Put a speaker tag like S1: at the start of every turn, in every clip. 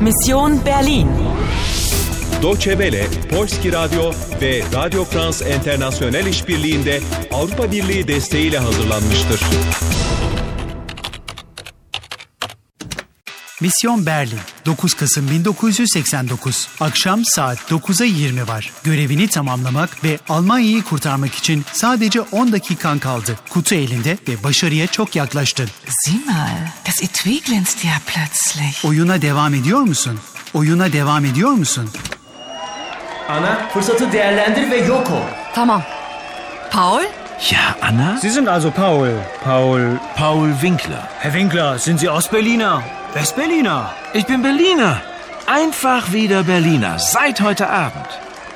S1: Mission Berlin.
S2: Deutsche Welle, Polski Radyo ve Radio France International işbirliğinde Avrupa Birliği desteğiyle hazırlanmıştır.
S3: Misyon Berlin, 9 Kasım 1989, akşam saat 9'a 20 var. Görevini tamamlamak ve Almanya'yı kurtarmak için sadece 10 dakikan kaldı. Kutu elinde ve başarıya çok yaklaştın.
S4: Sieh mal, das Etui glänzt ja plötzlich.
S3: Oyuna devam ediyor musun? Oyuna devam ediyor musun?
S5: Ana, fırsatı değerlendir ve yok ol.
S6: Tamam. Paul?
S7: Ja, Anna?
S8: Sie sind also Paul. Paul.
S7: Paul Winkler.
S8: Herr Winkler, sind Sie Ostberliner? Westberliner?
S7: Ich bin Berliner. Einfach wieder Berliner. Seit heute Abend.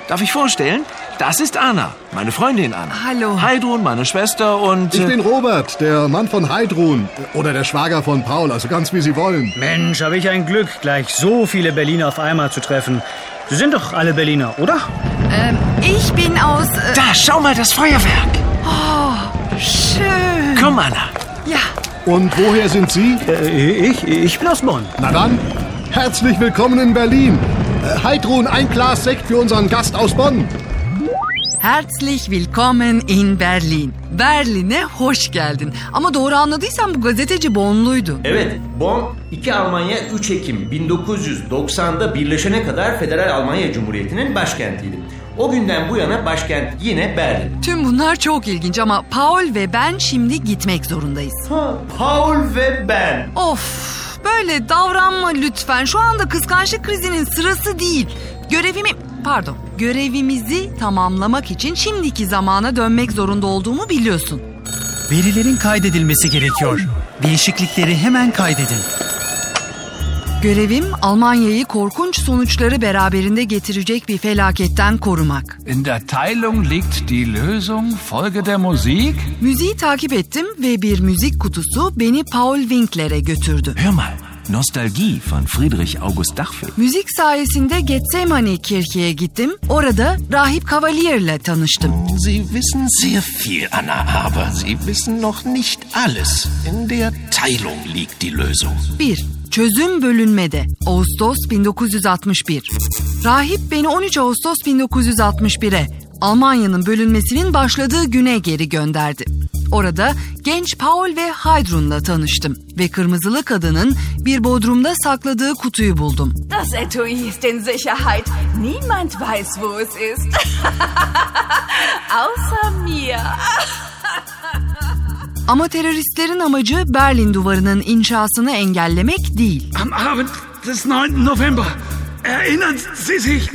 S7: Darf ich vorstellen? Das ist Anna, meine Freundin Anna.
S4: Hallo.
S7: Heidrun, meine Schwester und...
S9: Ich
S7: äh,
S9: bin Robert, der Mann von Heidrun. Oder der Schwager von Paul, also ganz wie Sie wollen.
S8: Mensch, habe ich ein Glück, gleich so viele Berliner auf einmal zu treffen. Sie sind doch alle Berliner, oder?
S6: Ähm, ich bin aus... Äh, Oh,
S7: Da, schau mal das Feuerwerk.
S6: schön.
S7: Komm, Anna.
S6: Ja.
S9: Und woher sind Sie?
S8: Äh, ich, ich bin aus Bonn.
S9: Na dann, herzlich willkommen in Berlin. Äh, Heidrun, ein Glas Sekt für unseren Gast aus Bonn.
S6: Herzlich willkommen in Berlin. Berlin'e hoş geldin. Ama doğru anladıysam bu gazeteci bonluydu.
S5: Evet, Bonn 2 Almanya 3 Ekim 1990'da birleşene kadar Federal Almanya Cumhuriyeti'nin başkentiydi. O günden bu yana başkent yine Berlin.
S6: Tüm bunlar çok ilginç ama Paul ve ben şimdi gitmek zorundayız.
S5: Ha, Paul ve ben.
S6: Of böyle davranma lütfen. Şu anda kıskançlık krizinin sırası değil. Görevimi pardon görevimizi tamamlamak için şimdiki zamana dönmek zorunda olduğumu biliyorsun.
S3: Verilerin kaydedilmesi gerekiyor. Değişiklikleri hemen kaydedin.
S6: Görevim Almanya'yı korkunç sonuçları beraberinde getirecek bir felaketten korumak.
S10: In der Teilung liegt die Lösung. Folge der Musik.
S6: Müziği takip ettim ve bir müzik kutusu beni Paul Winkler'e götürdü.
S7: Hör mal. Nostalgie von Friedrich August Dachfeld.
S6: Müzik sayesinde Getsemani Kirke'ye gittim. Orada Rahip Cavalier'le tanıştım.
S11: Sie wissen sehr viel, Anna, aber Sie wissen noch nicht alles. In der Teilung liegt die Lösung.
S6: 1. Çözüm bölünmede. Ağustos 1961. Rahip beni 13 Ağustos 1961'e Almanya'nın bölünmesinin başladığı güne geri gönderdi. Orada genç Paul ve Heidrun'la tanıştım ve kırmızılı kadının bir bodrumda sakladığı kutuyu buldum.
S12: Das Etui ist in Sicherheit. Niemand weiß, wo es ist. Außer mir.
S6: Ama teröristlerin amacı Berlin duvarının inşasını engellemek değil.
S8: Am Abend des 9. November. Erinnern Sie sich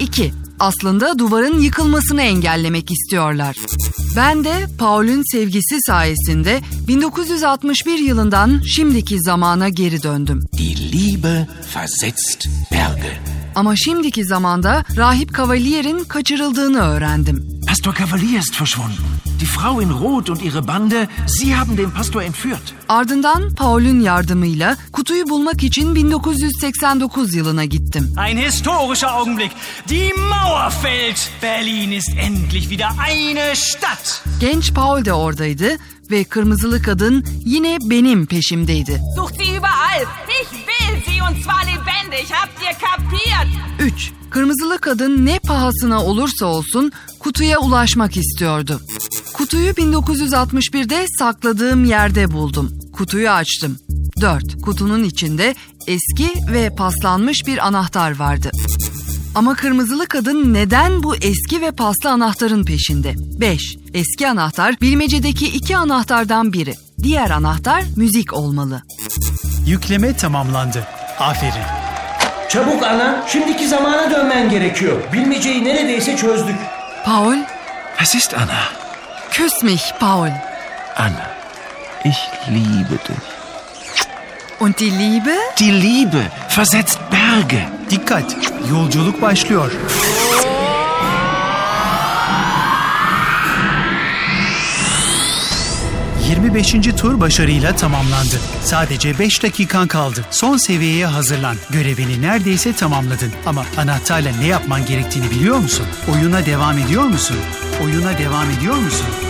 S6: 2. Aslında duvarın yıkılmasını engellemek istiyorlar. Ben de Paul'ün sevgisi sayesinde 1961 yılından şimdiki zamana geri döndüm.
S11: Die Liebe versetzt Berge.
S6: Ama şimdiki zamanda Rahip Cavalier'in kaçırıldığını öğrendim.
S7: Pastor Cavalier ist verschwunden. Die Frau in Rot und ihre Bande, sie haben den Pastor entführt.
S6: Ardından Paul'ün yardımıyla kutuyu bulmak için 1989 yılına gittim.
S3: Ah.
S8: Ein historischer Augenblick. Die Mauer fällt. Berlin ist endlich wieder eine Stadt.
S6: Genç Paul de oradaydı ve kırmızılı kadın yine benim peşimdeydi.
S12: Sucht sie überall. Ich will sie und zwar lebendig. Habt ihr kapiert?
S6: 3. Kırmızılı kadın ne pahasına olursa olsun kutuya ulaşmak istiyordu. Kutuyu 1961'de sakladığım yerde buldum. Kutuyu açtım. 4. Kutunun içinde eski ve paslanmış bir anahtar vardı. Ama kırmızılı kadın neden bu eski ve paslı anahtarın peşinde? 5. Eski anahtar bilmecedeki iki anahtardan biri. Diğer anahtar müzik olmalı.
S3: Yükleme tamamlandı. Aferin.
S5: Çabuk ana, şimdiki zamana dönmen gerekiyor. Bilmeceyi neredeyse çözdük.
S6: Paul,
S7: Was ist, Anna?
S6: küs mich Paul.
S7: Anna, ich liebe dich.
S6: Und die Liebe?
S7: Die Liebe versetzt Berge.
S3: Dikkat, yolculuk başlıyor. ...25. tur başarıyla tamamlandı. Sadece 5 dakikan kaldı. Son seviyeye hazırlan. Görevini neredeyse tamamladın. Ama anahtarla ne yapman gerektiğini biliyor musun? Oyuna devam ediyor musun? Oyuna devam ediyor musun?